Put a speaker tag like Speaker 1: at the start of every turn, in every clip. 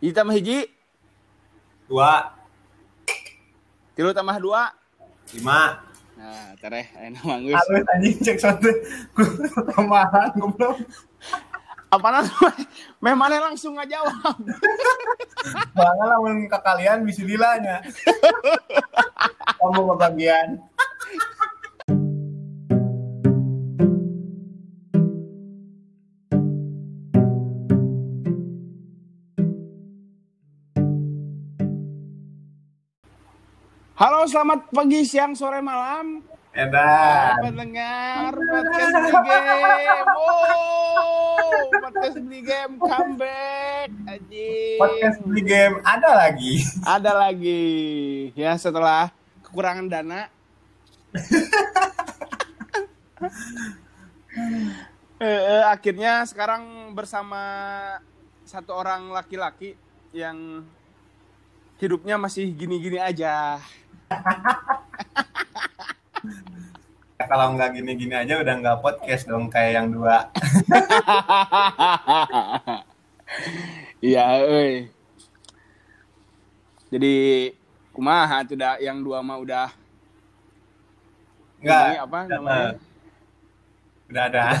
Speaker 1: Hiji tambah hiji,
Speaker 2: dua
Speaker 1: tilu tambah dua.
Speaker 2: lima
Speaker 1: Nah, tereh, enak manggus.
Speaker 3: Harus anjing cek sote. Kemahan goblok.
Speaker 1: Apa Memangnya langsung ngajawab.
Speaker 3: Bangga lamun ke kalian bisa dilanya. Kamu kebagian.
Speaker 1: Halo, selamat pagi, siang, sore, malam.
Speaker 3: Edan.
Speaker 1: Pendengar podcast Beli Game. Wow, podcast Beli Game comeback. Anjing.
Speaker 3: Podcast di game ada lagi.
Speaker 1: Ada lagi. Ya, setelah kekurangan dana. Eh, eh, akhirnya sekarang bersama satu orang laki-laki yang hidupnya masih gini-gini aja.
Speaker 3: Kalau nggak gini-gini aja udah nggak podcast dong kayak yang dua.
Speaker 1: Iya, euy. Jadi kumaha tuh dah, yang dua mah udah
Speaker 3: Nggak.
Speaker 1: ini apa
Speaker 3: udah
Speaker 1: namanya?
Speaker 3: mah. Udah ada.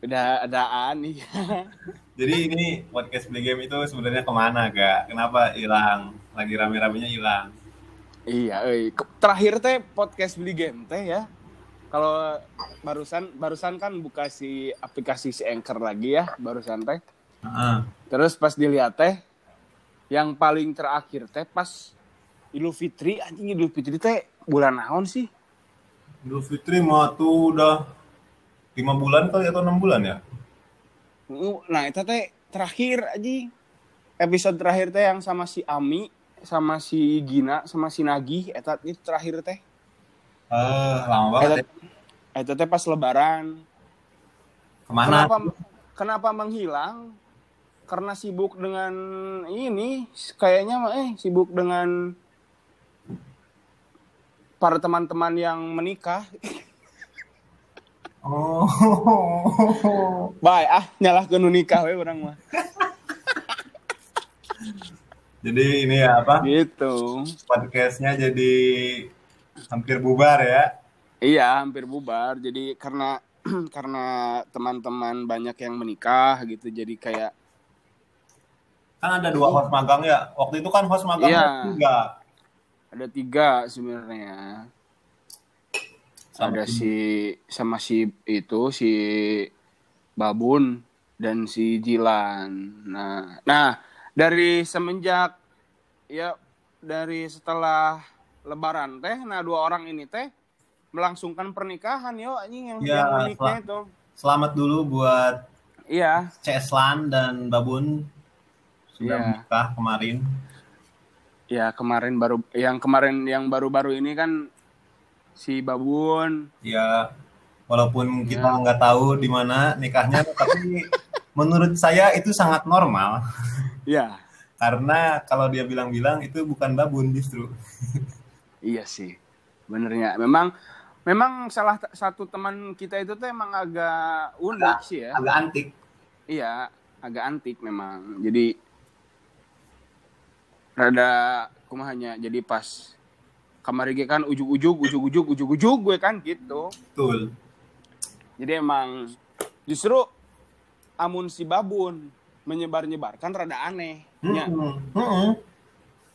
Speaker 1: Udah adaan iya.
Speaker 3: Jadi ini podcast beli game itu sebenarnya kemana gak? Kenapa hilang? Lagi rame-ramenya hilang.
Speaker 1: iya, euy. Ke- Terakhir teh podcast beli game teh ya. Kalau barusan barusan kan buka si aplikasi si Anchor lagi ya, barusan teh.
Speaker 3: Heeh.
Speaker 1: Terus pas dilihat teh yang paling terakhir teh pas Idul Fitri anjing Idul Fitri teh bulan naon sih?
Speaker 3: Idul Fitri mah tuh udah lima bulan kali atau enam bulan ya?
Speaker 1: Uh, Nah, itu teh terakhir aja. Episode terakhir teh yang sama si Ami, sama si Gina, sama si Nagih, eta itu terakhir teh.
Speaker 3: Eh, lama banget.
Speaker 1: Eta,
Speaker 3: Ya.
Speaker 1: eta teh pas lebaran.
Speaker 3: Kemana?
Speaker 1: Kenapa kenapa menghilang? Karena sibuk dengan ini, kayaknya mah, eh sibuk dengan para teman-teman yang menikah.
Speaker 3: Oh.
Speaker 1: Bye, ah nyalahkeun nu nikah we urang mah.
Speaker 3: Jadi ini ya apa?
Speaker 1: Gitu.
Speaker 3: Podcastnya jadi hampir bubar ya.
Speaker 1: Iya, hampir bubar. Jadi karena karena teman-teman banyak yang menikah gitu, jadi kayak
Speaker 3: Kan ada dua host magang ya. Waktu itu kan host magang
Speaker 1: Iya.
Speaker 3: juga.
Speaker 1: ada tiga sebenarnya. Ada si sama si itu si Babun dan si Jilan. Nah, nah dari semenjak ya dari setelah Lebaran teh, nah dua orang ini teh melangsungkan pernikahan yo anjing yang,
Speaker 3: Iya,
Speaker 1: yang meniknya
Speaker 3: setelah-
Speaker 1: itu.
Speaker 3: Selamat dulu buat
Speaker 1: Iya.
Speaker 3: Ceslan dan Babun sudah
Speaker 1: Iya.
Speaker 3: menikah kemarin.
Speaker 1: Ya kemarin baru yang kemarin yang baru-baru ini kan si Babun
Speaker 3: Ya, walaupun kita
Speaker 1: Ya.
Speaker 3: nggak tahu di mana nikahnya, tapi menurut saya itu sangat normal
Speaker 1: ya
Speaker 3: karena kalau dia bilang-bilang itu bukan Babun justru.
Speaker 1: iya sih benernya memang memang salah t- satu teman kita itu tuh emang agak unik
Speaker 3: Agak.
Speaker 1: sih ya
Speaker 3: Agak antik.
Speaker 1: iya agak antik memang jadi rada kumahanya jadi pas kamari ge kan ujug-ujug ujug-ujug ujug-ujug gue kan gitu
Speaker 3: Betul.
Speaker 1: jadi emang justru amun si Babun menyebar-nyebarkan rada aneh ya
Speaker 3: Mm-mm. Mm-mm.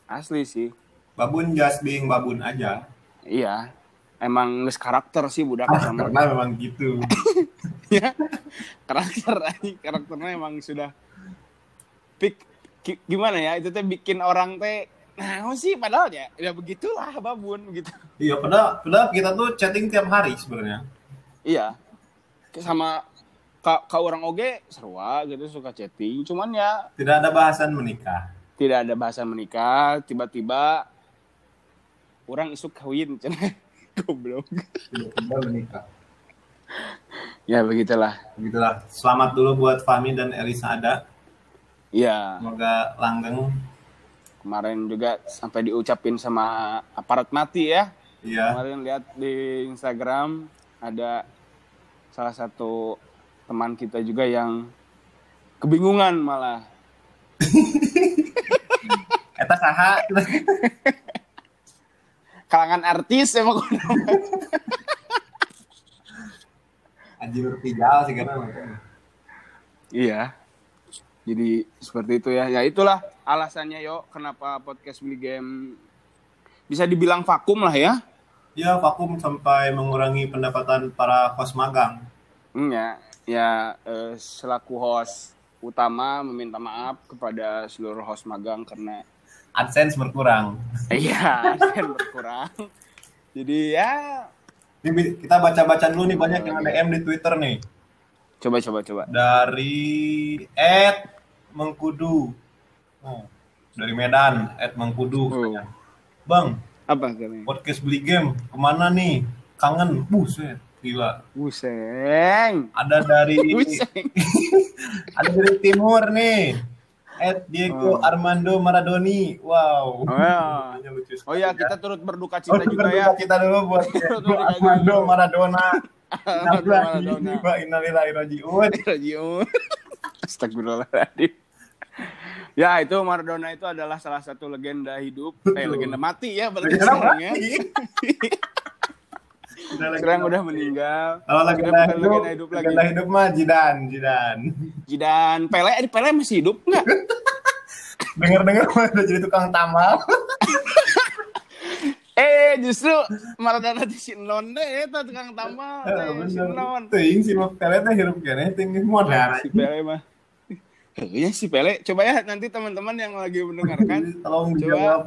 Speaker 1: asli sih
Speaker 3: Hmm. Babun just being babun aja.
Speaker 1: Iya. Emang geus karakter sih budak
Speaker 3: Ah,
Speaker 1: sama.
Speaker 3: Karena memang gitu.
Speaker 1: Iya. karakter anjing. karakternya emang sudah pik ki- gimana ya itu teh bikin orang teh nah sih padahal ya ya begitulah babun gitu.
Speaker 3: Iya, padahal, padahal kita tuh chatting tiap hari sebenarnya.
Speaker 1: Iya. Ke- Sama ka, ka orang oge serua gitu suka chatting cuman ya
Speaker 3: Tidak ada bahasan menikah.
Speaker 1: tidak ada bahasa menikah tiba-tiba orang isuk kawin cenah goblok.
Speaker 3: Tiba-tiba menikah.
Speaker 1: Ya begitulah.
Speaker 3: Begitulah. Selamat dulu buat Fahmi dan Elisa ada.
Speaker 1: Iya.
Speaker 3: Semoga langgeng.
Speaker 1: Kemarin juga sampai diucapin sama aparat mati ya.
Speaker 3: Iya.
Speaker 1: Kemarin lihat di Instagram ada salah satu teman kita juga yang kebingungan malah.
Speaker 3: Eta saha?
Speaker 1: kalangan artis emang kudu nama.
Speaker 2: Anjir pijal sih kan.
Speaker 1: iya jadi seperti itu ya ya itulah alasannya yo kenapa podcast beli game bisa dibilang vakum lah ya
Speaker 3: Ya vakum sampai mengurangi pendapatan para host magang.
Speaker 1: Hmm, ya ya eh, selaku host utama meminta maaf kepada seluruh host magang karena
Speaker 3: AdSense berkurang.
Speaker 1: iya saya berkurang jadi ya
Speaker 3: Ini bi- kita baca-baca dulu nih banyak yang DM di Twitter nih.
Speaker 1: coba coba coba
Speaker 3: Dari Ed Mengkudu. Oh, dari Medan, Ed Mengkudu.
Speaker 1: Oh.
Speaker 3: Bang,
Speaker 1: apa katanya
Speaker 3: podcast beli game kemana nih? Kangen, buset, gila.
Speaker 1: Useng
Speaker 3: Ada dari
Speaker 1: Iya. Useng
Speaker 3: ada dari timur nih. Ed Diego
Speaker 1: Hmm.
Speaker 3: Armando Maradoni. Wow.
Speaker 1: Wow.
Speaker 3: Namanya lucu sekali,
Speaker 1: Oh ya, kita turut berduka
Speaker 3: Oh,
Speaker 1: cita juga ya.
Speaker 3: kita dulu buat
Speaker 1: Berduka cita
Speaker 3: Armando
Speaker 1: dulu.
Speaker 3: Maradona.
Speaker 1: Armando Maradona.
Speaker 3: Innalillahi wa inna ilaihi raji'un.
Speaker 1: Rajiun. Astagfirullahaladzim. Ya, itu Maradona itu adalah salah satu legenda hidup, eh legenda mati ya berarti
Speaker 3: Legenda
Speaker 1: sekarang ya.
Speaker 3: mati. Udah lagi.
Speaker 1: Sekarang udah meninggal.
Speaker 3: Kalau
Speaker 1: Sudah
Speaker 3: lagi
Speaker 1: bukan Oh,
Speaker 3: hidup,
Speaker 1: legenda hidup lagi.
Speaker 3: legenda hidup mah Jidan, Jidan.
Speaker 1: Jidan Pele, eh, Pele masih hidup nggak?
Speaker 3: Dengar-dengar mah udah jadi tukang tamal.
Speaker 1: eh, justru Maradona di Sinon deh, itu tukang tamal, eh, Sinon.
Speaker 3: Ting si mah pelet hirup kene ting modal.
Speaker 1: Si Pele mah. Iya si Pele, coba ya nanti teman-teman yang lagi mendengarkan
Speaker 3: Tolong
Speaker 1: kan? Coba.
Speaker 3: dijawab.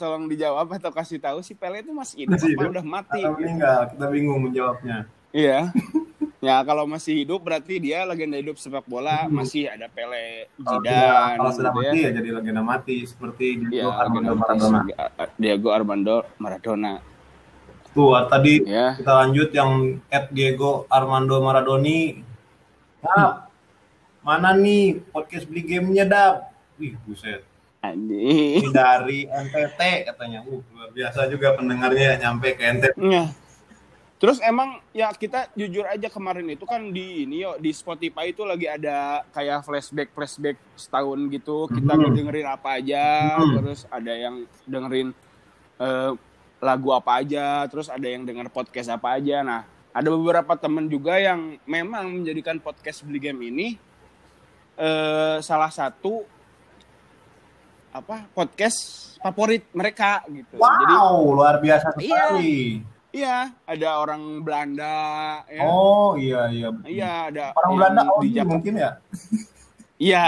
Speaker 1: tolong dijawab atau kasih tahu si Pele itu masih hidup
Speaker 3: Masih
Speaker 1: apa
Speaker 3: hidup.
Speaker 1: udah mati.
Speaker 3: Atau meninggal, kita bingung menjawabnya.
Speaker 1: Iya. Ya kalau masih hidup berarti dia legenda hidup sepak bola masih ada Pele, Zidane,
Speaker 3: Kalau sudah- Hmm. Oh, iya, kalau sudah
Speaker 1: gitu
Speaker 3: mati ya jadi legenda mati seperti
Speaker 1: Ya,
Speaker 3: Diego
Speaker 1: legenda
Speaker 3: Armando
Speaker 1: mati
Speaker 3: Maradona.
Speaker 1: sebagai- Diego Armando Maradona.
Speaker 3: Tuh tadi
Speaker 1: Ya.
Speaker 3: kita lanjut yang at Diego Armando Maradoni. Dap, mana nih podcast beli gamenya Dap? Wih buset.
Speaker 1: Anjing.
Speaker 3: Ini dari NTT katanya. Uh, luar biasa juga pendengarnya nyampe ke NTT.
Speaker 1: Ya. Terus emang ya kita jujur aja kemarin itu kan di ini yo di Spotify itu lagi ada kayak flashback flashback setahun gitu kita
Speaker 3: Mhm.
Speaker 1: dengerin apa aja
Speaker 3: Mhm.
Speaker 1: terus ada yang dengerin eh, lagu apa aja terus ada yang denger podcast apa aja nah ada beberapa temen juga yang memang menjadikan podcast beli game ini eh, salah satu apa podcast favorit mereka gitu jadi
Speaker 3: Wow, luar biasa
Speaker 1: Iya.
Speaker 3: sekali.
Speaker 1: Iya, ada orang Belanda ya.
Speaker 3: Oh iya iya.
Speaker 1: Iya, ada
Speaker 3: Orang
Speaker 1: yang
Speaker 3: Belanda oh,
Speaker 1: di
Speaker 3: iya,
Speaker 1: Jakarta.
Speaker 3: mungkin ya.
Speaker 1: Iya.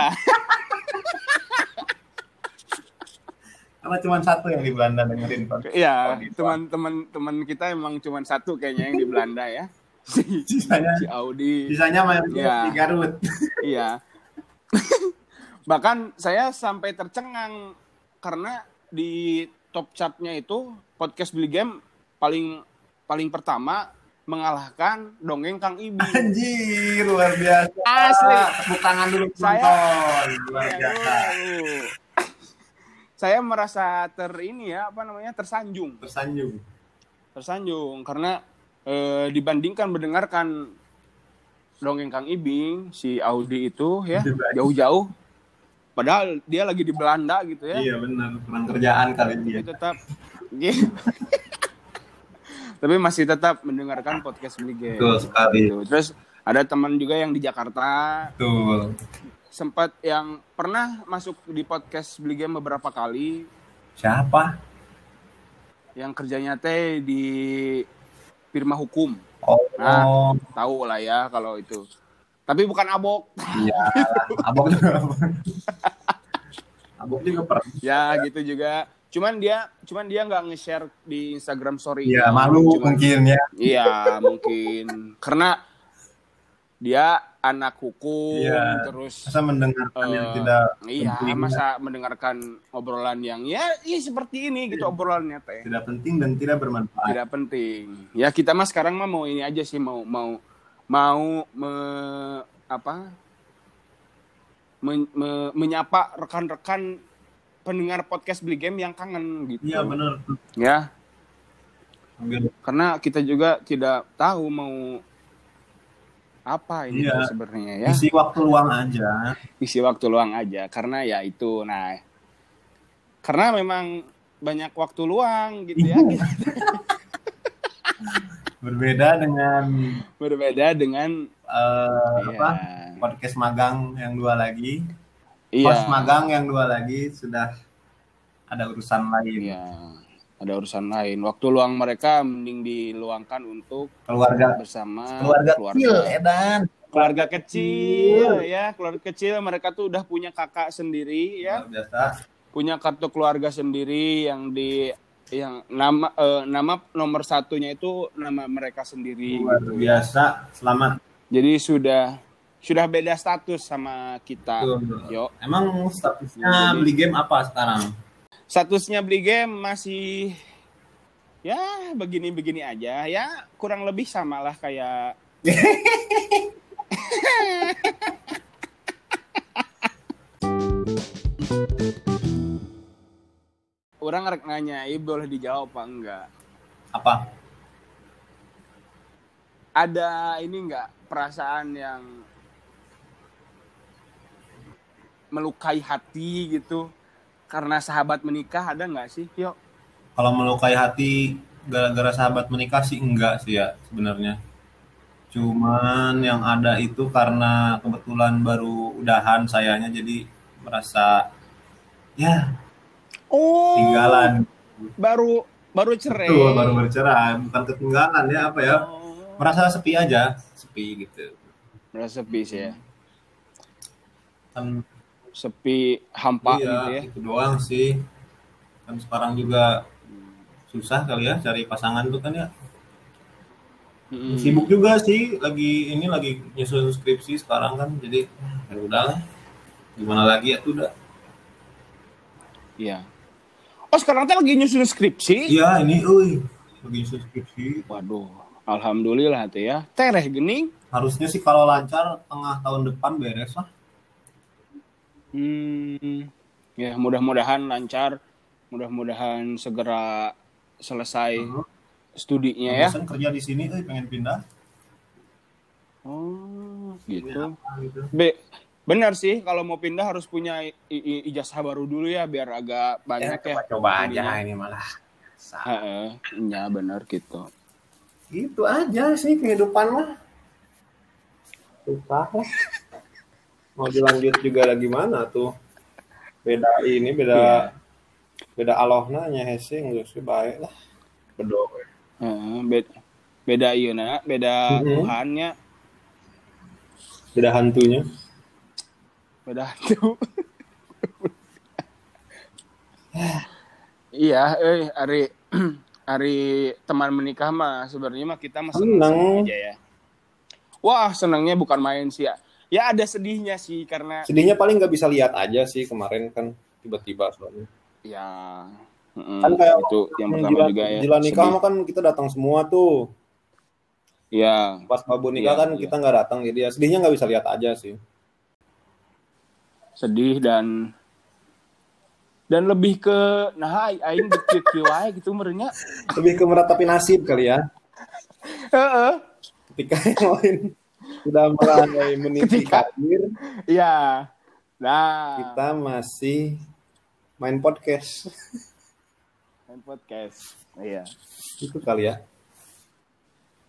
Speaker 3: Karena cuma satu yang di Belanda dengerin Pak.
Speaker 1: Iya,
Speaker 3: Oh, di-
Speaker 1: teman-teman teman kita emang cuman satu kayaknya yang di Belanda ya. Si,
Speaker 3: Sisanya
Speaker 1: si Audi.
Speaker 3: sisanya mayoritas
Speaker 1: Iya.
Speaker 3: di Garut.
Speaker 1: Iya. Bahkan saya sampai tercengang karena di top chartnya itu podcast beli game paling paling pertama mengalahkan dongeng Kang Ibi.
Speaker 3: Anjir, luar biasa.
Speaker 1: Asli.
Speaker 3: Tepuk tangan dulu
Speaker 1: Eh, Saya- Iya,
Speaker 3: penonton. Luar biasa.
Speaker 1: Aduh. Saya merasa ter ini ya apa namanya tersanjung,
Speaker 3: Tersanjung.
Speaker 1: tersanjung karena eh, dibandingkan mendengarkan dongeng Kang Ibing si Audi itu ya
Speaker 3: Lebih baik.
Speaker 1: jauh-jauh, padahal dia lagi di Belanda gitu ya,
Speaker 3: Iya benar, kurang kerjaan kali dia.
Speaker 1: tapi tetap, Iya. tapi masih tetap mendengarkan podcast beli game.
Speaker 3: Betul sekali.
Speaker 1: Gitu. Terus ada teman juga yang di Jakarta
Speaker 3: Betul.
Speaker 1: sempat yang pernah masuk di podcast beli game beberapa kali
Speaker 3: Siapa?
Speaker 1: yang kerjanya teh di firma hukum
Speaker 3: Oh,
Speaker 1: Nah. tahu lah ya kalau itu tapi bukan abok
Speaker 3: iya. Abok juga. Abok juga pernah.
Speaker 1: ya gitu juga cuman dia cuman dia nggak nge-share di Instagram story
Speaker 3: Iya, malu
Speaker 1: Cuman-
Speaker 3: mungkin ya.
Speaker 1: iya mungkin karena dia anak hukum
Speaker 3: Iya.
Speaker 1: terus
Speaker 3: Masa mendengarkan yang
Speaker 1: Eh,
Speaker 3: tidak
Speaker 1: iya
Speaker 3: penting,
Speaker 1: masa mendengarkan obrolan yang ya, ya seperti ini gitu
Speaker 3: Iya.
Speaker 1: obrolannya teh
Speaker 3: tidak penting dan tidak bermanfaat.
Speaker 1: tidak penting ya kita mah sekarang mah mau ini aja sih mau mau mau me, apa men- me- menyapa rekan-rekan pendengar podcast beli game yang kangen gitu
Speaker 3: Iya, benar.
Speaker 1: ya
Speaker 3: Ambil
Speaker 1: karena kita juga tidak tahu mau apa ini
Speaker 3: Iya.
Speaker 1: tuh sebenarnya ya
Speaker 3: isi waktu luang aja.
Speaker 1: isi waktu luang aja karena ya itu nah Karena memang banyak waktu luang gitu ya.
Speaker 3: Iya. Berbeda dengan
Speaker 1: Berbeda dengan
Speaker 3: eh,
Speaker 1: Iya.
Speaker 3: apa podcast magang yang dua lagi,
Speaker 1: iya.
Speaker 3: Pos magang yang dua lagi sudah ada urusan lain.
Speaker 1: Iya. Ada urusan lain. Waktu luang mereka mending diluangkan untuk
Speaker 3: Keluarga
Speaker 1: bersama
Speaker 3: keluarga, kecil, Iya. Edan.
Speaker 1: keluarga kecil ya keluarga kecil mereka tuh udah punya kakak sendiri ya
Speaker 3: Luar Biasa.
Speaker 1: punya kartu keluarga sendiri yang di yang nama eh, nama nomor satunya itu nama mereka sendiri
Speaker 3: Luar
Speaker 1: gitu.
Speaker 3: biasa. Selamat.
Speaker 1: jadi sudah sudah beda status sama kita
Speaker 3: Tuh.
Speaker 1: yo
Speaker 3: Emang statusnya
Speaker 1: Ya, Ah. Iya. jadi-
Speaker 3: beli game apa sekarang?
Speaker 1: statusnya beli game masih ya begini-begini aja ya kurang lebih samalah kayak orang rek nanya "Ih, boleh dijawab apa enggak
Speaker 3: Apa?
Speaker 1: ada ini enggak perasaan yang melukai hati gitu karena sahabat menikah ada nggak sih yuk
Speaker 3: Kalau melukai hati gara-gara sahabat menikah sih enggak sih ya sebenarnya. Cuman yang ada itu karena kebetulan baru udahan sayanya jadi merasa ya
Speaker 1: oh
Speaker 3: ketinggalan.
Speaker 1: baru baru cerai.
Speaker 3: Tuh baru bercerai, bukan ketinggalan ya apa ya?
Speaker 1: Oh.
Speaker 3: Merasa sepi aja, sepi gitu.
Speaker 1: Merasa sepi sih ya.
Speaker 3: Kan
Speaker 1: Sepi hampa
Speaker 3: iya,
Speaker 1: gitu ya.
Speaker 3: itu doang sih. Kan sekarang juga susah kali ya cari pasangan tuh kan ya.
Speaker 1: Mm-mm.
Speaker 3: Sibuk juga sih lagi ini lagi nyusun skripsi sekarang kan jadi ya udah lah. Gimana lagi ya tuh udah.
Speaker 1: Iya. Oh, sekarang teh lagi nyusun skripsi.
Speaker 3: Iya, ini euy lagi nyusun skripsi.
Speaker 1: Waduh, alhamdulillah teh ya. Tereh gening.
Speaker 3: Harusnya sih kalau lancar tengah tahun depan beres lah.
Speaker 1: Hmm. Ya, mudah-mudahan lancar. Mudah-mudahan segera selesai
Speaker 3: Mhm.
Speaker 1: studinya ya.
Speaker 3: Bosan kerja di sini euy pengen pindah.
Speaker 1: Oh,
Speaker 3: Ini
Speaker 1: gitu.
Speaker 3: apa gitu.
Speaker 1: Be Benar sih, kalau mau pindah harus punya i- i- ijazah baru dulu ya, biar agak banyak ya.
Speaker 3: coba
Speaker 1: ininya.
Speaker 3: aja ini malah.
Speaker 1: Heeh, ya benar gitu.
Speaker 3: Gitu aja sih kehidupan mah. Susah lah. Mau dilanjut juga lagi mana tuh? Beda ini, beda beda alohnya hese nggak sih baik lah. Berdoa.
Speaker 1: Heeh, beda beda ieuna, beda
Speaker 3: Mhm.
Speaker 1: Tuhannya,
Speaker 3: Beda hantunya.
Speaker 1: beda hantu. iya, eh hari hari teman menikah mah sebenarnya mah kita mah
Speaker 3: Seneng.
Speaker 1: senang aja ya. Wah, senangnya bukan main sih ya. Ya ada sedihnya sih karena
Speaker 3: Sedihnya paling nggak bisa lihat aja sih kemarin kan tiba-tiba soalnya.
Speaker 1: ya mm,
Speaker 3: Kan kayak
Speaker 1: itu yang pertama
Speaker 3: Menjelang-
Speaker 1: juga ya.
Speaker 3: menjelang nikah
Speaker 1: sedih.
Speaker 3: mah kan kita datang semua tuh.
Speaker 1: Ya,
Speaker 3: Pas babu nikah
Speaker 1: Iya,
Speaker 3: kan
Speaker 1: iya.
Speaker 3: kita nggak datang jadi ya sedihnya nggak bisa lihat aja sih.
Speaker 1: sedih dan dan lebih ke nah ai- aing dikieu wae gitu merenya
Speaker 3: Lebih ke meratapi nasib kali ya.
Speaker 1: Heeh.
Speaker 3: ketika yang lain sudah mulai meniti
Speaker 1: Ketika-
Speaker 3: karir,
Speaker 1: Iya. Nah,
Speaker 3: kita masih main podcast
Speaker 1: main podcast. Iya.
Speaker 3: itu kali ya.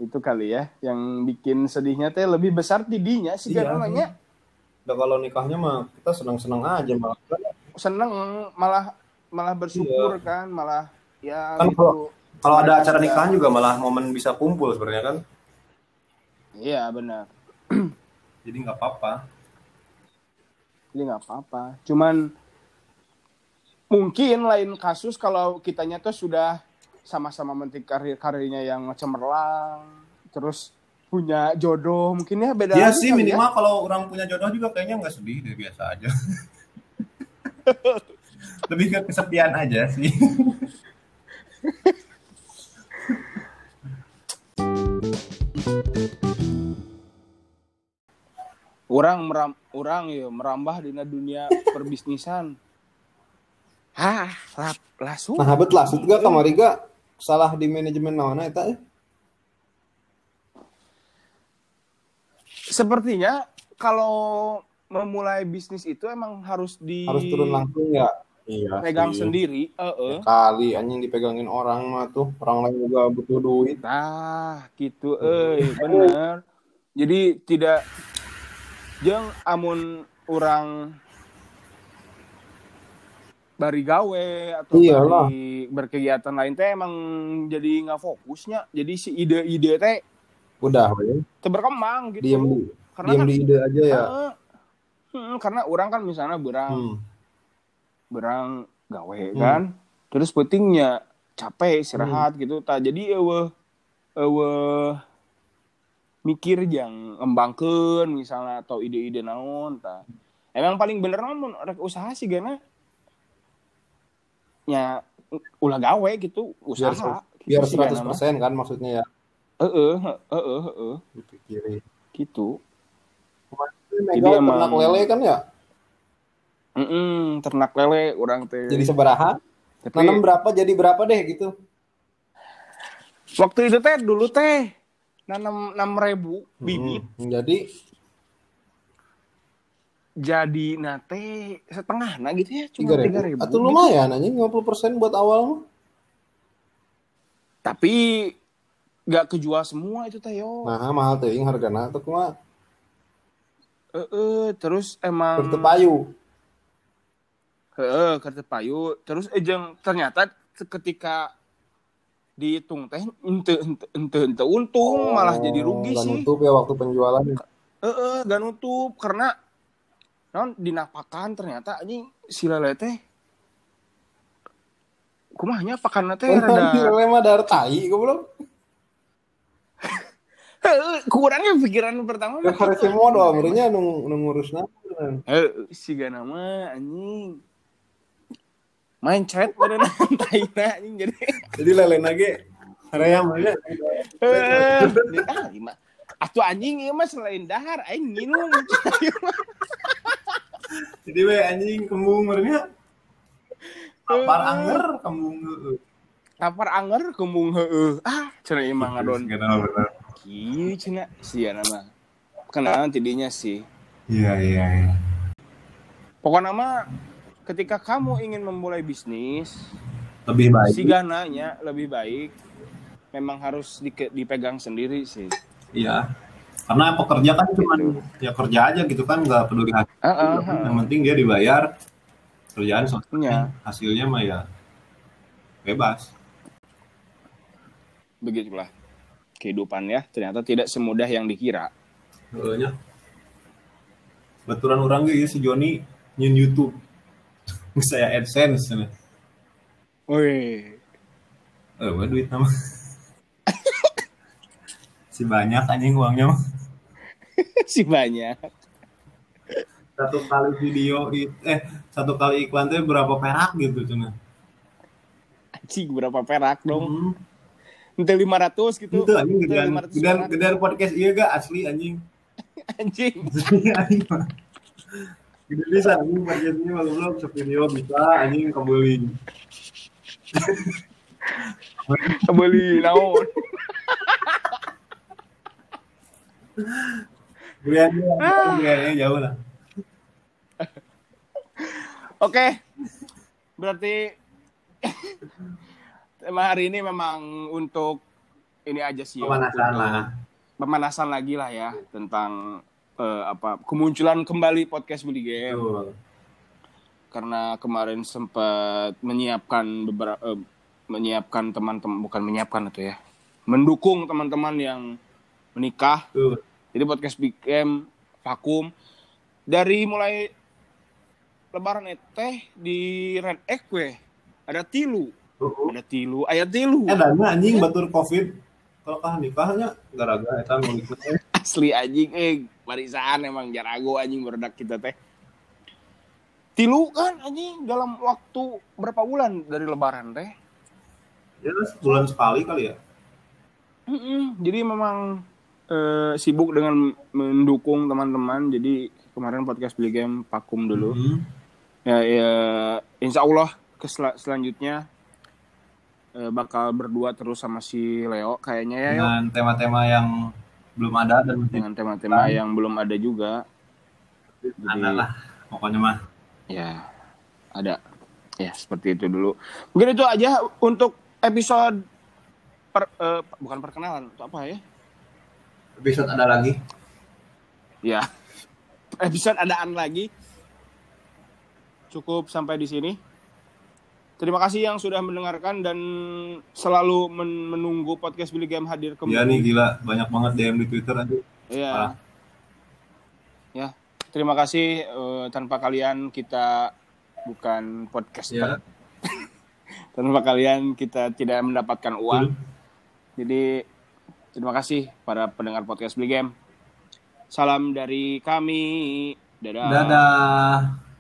Speaker 1: Itu kali ya yang bikin sedihnya teh lebih besar tidinya sih
Speaker 3: Iya.
Speaker 1: kan namanya.
Speaker 3: Udah kalau nikahnya mah kita senang-senang aja malah.
Speaker 1: Seneng malah malah bersyukur kan, malah ya
Speaker 3: Iya. Kan
Speaker 1: gitu.
Speaker 3: Kalau ada acara nikahan juga malah momen bisa kumpul sebenarnya kan.
Speaker 1: Iya, benar.
Speaker 3: Jadi nggak apa-apa.
Speaker 1: Jadi Ya, nggak apa-apa. Cuman mungkin lain kasus kalau kitanya tuh sudah sama-sama mentik karir karirnya yang cemerlang, terus punya jodoh mungkin ya beda
Speaker 3: Ya
Speaker 1: lagi
Speaker 3: sih
Speaker 1: kali
Speaker 3: minimal kalau orang punya jodoh juga kayaknya nggak sedih deh biasa aja. Lebih ke kesepian aja sih.
Speaker 1: orang meram orang ya merambah dina dunia perbisnisan hah lap langsung
Speaker 3: Nah, habet lah, juga
Speaker 1: Iya.
Speaker 3: kamari ga salah di manajemen naona eta eh.
Speaker 1: sepertinya kalau memulai bisnis itu emang harus di
Speaker 3: harus turun langsung ya.
Speaker 4: Iya.
Speaker 1: Iya. pegang
Speaker 4: sih.
Speaker 1: sendiri heeh
Speaker 4: Kali anjing dipegangin orang mah tuh, orang lain juga butuh duit.
Speaker 1: Nah, gitu
Speaker 4: Iya.
Speaker 1: euy, bener. Jadi tidak jeung amun orang bari gawe atau
Speaker 4: Iyalah.
Speaker 1: bari berkegiatan lain teh emang jadi nggak fokusnya. Jadi si ide-ide teh
Speaker 4: Udah,
Speaker 1: Iya.
Speaker 4: ya.
Speaker 1: terberkembang gitu.
Speaker 4: diam di,
Speaker 1: karena
Speaker 4: diam
Speaker 1: kan,
Speaker 4: di ide aja ya.
Speaker 1: eh, hmm, karena orang kan misalnya berang
Speaker 4: Hmm.
Speaker 1: berang gawe
Speaker 4: Hmm.
Speaker 1: kan terus pentingnya capek istirahat gitu tak jadi eueuh eueuh mikir yang ngembangkeun misalnya atau ide-ide naon tak emang paling bener mah mun rek usaha sih gana ya ulah gawe gitu usaha
Speaker 4: Biar-
Speaker 1: gitu
Speaker 4: Biar
Speaker 1: sih gana
Speaker 4: 100%
Speaker 1: mah.
Speaker 4: kan maksudnya ya
Speaker 1: Heeh, heeh, heeh,
Speaker 4: dipikirin.
Speaker 1: gitu
Speaker 4: Megal
Speaker 1: emang-
Speaker 4: ternak lele kan ya?
Speaker 1: Mm-mm, ternak lele orang teh
Speaker 4: Jadi seberaha,
Speaker 1: Tapi-
Speaker 4: nanam berapa jadi berapa deh gitu.
Speaker 1: Waktu itu teh dulu teh nanam enam ribu bibit
Speaker 4: Hmm. Jadi
Speaker 1: jadi nate setengah nah gitu ya cuma
Speaker 4: 3.000.
Speaker 1: tiga ribu.
Speaker 4: Atau lumayan anjing 50% buat awal mah.
Speaker 1: Tapi nggak kejual semua itu teh yo.
Speaker 4: Nah, mahal teuing hargana teu kumaha?
Speaker 1: Eh, eh, terus emang
Speaker 4: Bertepayu.
Speaker 1: Heeh, kertepayu. Terus ejeng ternyata ketika dihitung teh ente ente ente, ente untung malah jadi rugi
Speaker 4: Oh, Nggak
Speaker 1: sih.
Speaker 4: nutup ya waktu penjualan.
Speaker 1: Heeh, gak nutup karena non dinapakan ternyata anjing si lele teh kumahnya pakan teh
Speaker 4: Oh,
Speaker 1: rada
Speaker 4: Lele mah dar tai goblok.
Speaker 1: Heeh, kurangnya pikiran pertama
Speaker 4: Ya
Speaker 1: mah
Speaker 4: karese
Speaker 1: gitu.
Speaker 4: modal meureunnya nu nu ngurusna.
Speaker 1: Heeh, Eh, si gana mah anjing mindset pada nanti anjing jadi
Speaker 4: Jadi lele nage area mana?
Speaker 1: heeh ah lima atuh anjing ieu mah selain dahar aing nginum
Speaker 2: Jadi we anjing kembung merenya. Apar anger kembung. heueuh.
Speaker 1: tapar anger kembung heeh ah cenah ieu mah ngadon
Speaker 3: iya. gitu,
Speaker 2: Segala bener.
Speaker 1: Iya, cina sih nama. Kenalan tidinya sih.
Speaker 2: Iya iya iya.
Speaker 1: Pokoknya nama ketika kamu ingin memulai bisnis,
Speaker 3: lebih baik
Speaker 1: si gananya lebih baik memang harus dike- dipegang sendiri sih.
Speaker 3: Iya. Karena pekerja kan cuma ya kerja aja gitu kan nggak peduli hasil.
Speaker 1: Heeh,
Speaker 3: Yang penting dia dibayar kerjaan selesai.
Speaker 1: Iya.
Speaker 3: hasilnya mah ya bebas.
Speaker 1: begitulah kehidupan ya. Ternyata tidak semudah yang dikira.
Speaker 3: Soalnya baturan orang gitu si Joni nyen YouTube. Saya AdSense. ya. cenah.
Speaker 1: Woi,
Speaker 3: Eh, wah duit nama. si banyak anjing uangnya mah.
Speaker 1: si banyak.
Speaker 3: Satu kali video i- eh satu kali iklan tuh berapa perak gitu cina.
Speaker 1: Anjing berapa perak dong?
Speaker 3: Hmm.
Speaker 1: Ente 500 gitu.
Speaker 3: Itu anjing
Speaker 1: Ente
Speaker 3: gedean
Speaker 1: 500
Speaker 3: gedean
Speaker 1: perak.
Speaker 3: gedean podcast iya gak asli anjing.
Speaker 1: Anjing.
Speaker 3: anjing mah. Gede bisa anjing budgetnya mah belum sevideo bisa anjing kebeli.
Speaker 1: Kebeli naon?
Speaker 3: Giliannya
Speaker 1: Ah.
Speaker 3: giliannya ya, jauh lah.
Speaker 1: Oke, berarti tema hari ini memang untuk ini aja sih, ya.
Speaker 3: Pemanasan lah.
Speaker 1: pemanasan lagi lah ya tentang eh, apa kemunculan kembali podcast Budi Game
Speaker 3: Betul.
Speaker 1: karena kemarin sempat menyiapkan beberapa menyiapkan teman-teman bukan menyiapkan itu ya, mendukung teman-teman yang menikah.
Speaker 3: Betul.
Speaker 1: Jadi podcast Big Game vakum dari mulai lebaran eh, teh di Red Egg we. ada tilu,
Speaker 3: Heeh.
Speaker 1: ada tilu, ayat tilu.
Speaker 3: Eh, dana anjing batur covid kalau kah nikahnya ya, gara-gara eta mau nikah.
Speaker 1: Asli anjing eh barisan emang jarago anjing berdak kita teh. Tilu kan anjing dalam waktu berapa bulan dari lebaran teh?
Speaker 3: ya sebulan sekali kali ya
Speaker 1: Mm-mm. Jadi memang eh, sibuk dengan mendukung teman-teman. Jadi kemarin podcast beli game vakum dulu.
Speaker 3: Mm-hmm. Hmm.
Speaker 1: ya, ya insya Allah ke sel- selanjutnya eh, bakal berdua terus sama si Leo kayaknya ya Hmm, Yo.
Speaker 3: dengan tema-tema yang belum ada dan masih
Speaker 1: dengan tema-tema yang belum ada juga iya.
Speaker 3: ada lah pokoknya mah
Speaker 1: ya ada ya seperti itu dulu mungkin itu aja untuk episode per, eh, bukan perkenalan atau apa ya
Speaker 3: Episode ada lagi.
Speaker 1: ya episode adaan lagi cukup sampai di sini terima kasih yang sudah mendengarkan dan selalu men- menunggu podcast Billy Game hadir kembali
Speaker 3: Iya nih Ah. gila, banyak banget DM di Twitter nanti. Parah.
Speaker 1: Iya. Ya, terima kasih. Eh, tanpa kalian kita bukan podcaster.
Speaker 3: Iya.
Speaker 1: tanpa kalian kita tidak mendapatkan uang. Jadi terima kasih para pendengar podcast Beli Game. Salam dari kami. Dadah.
Speaker 3: Dadah.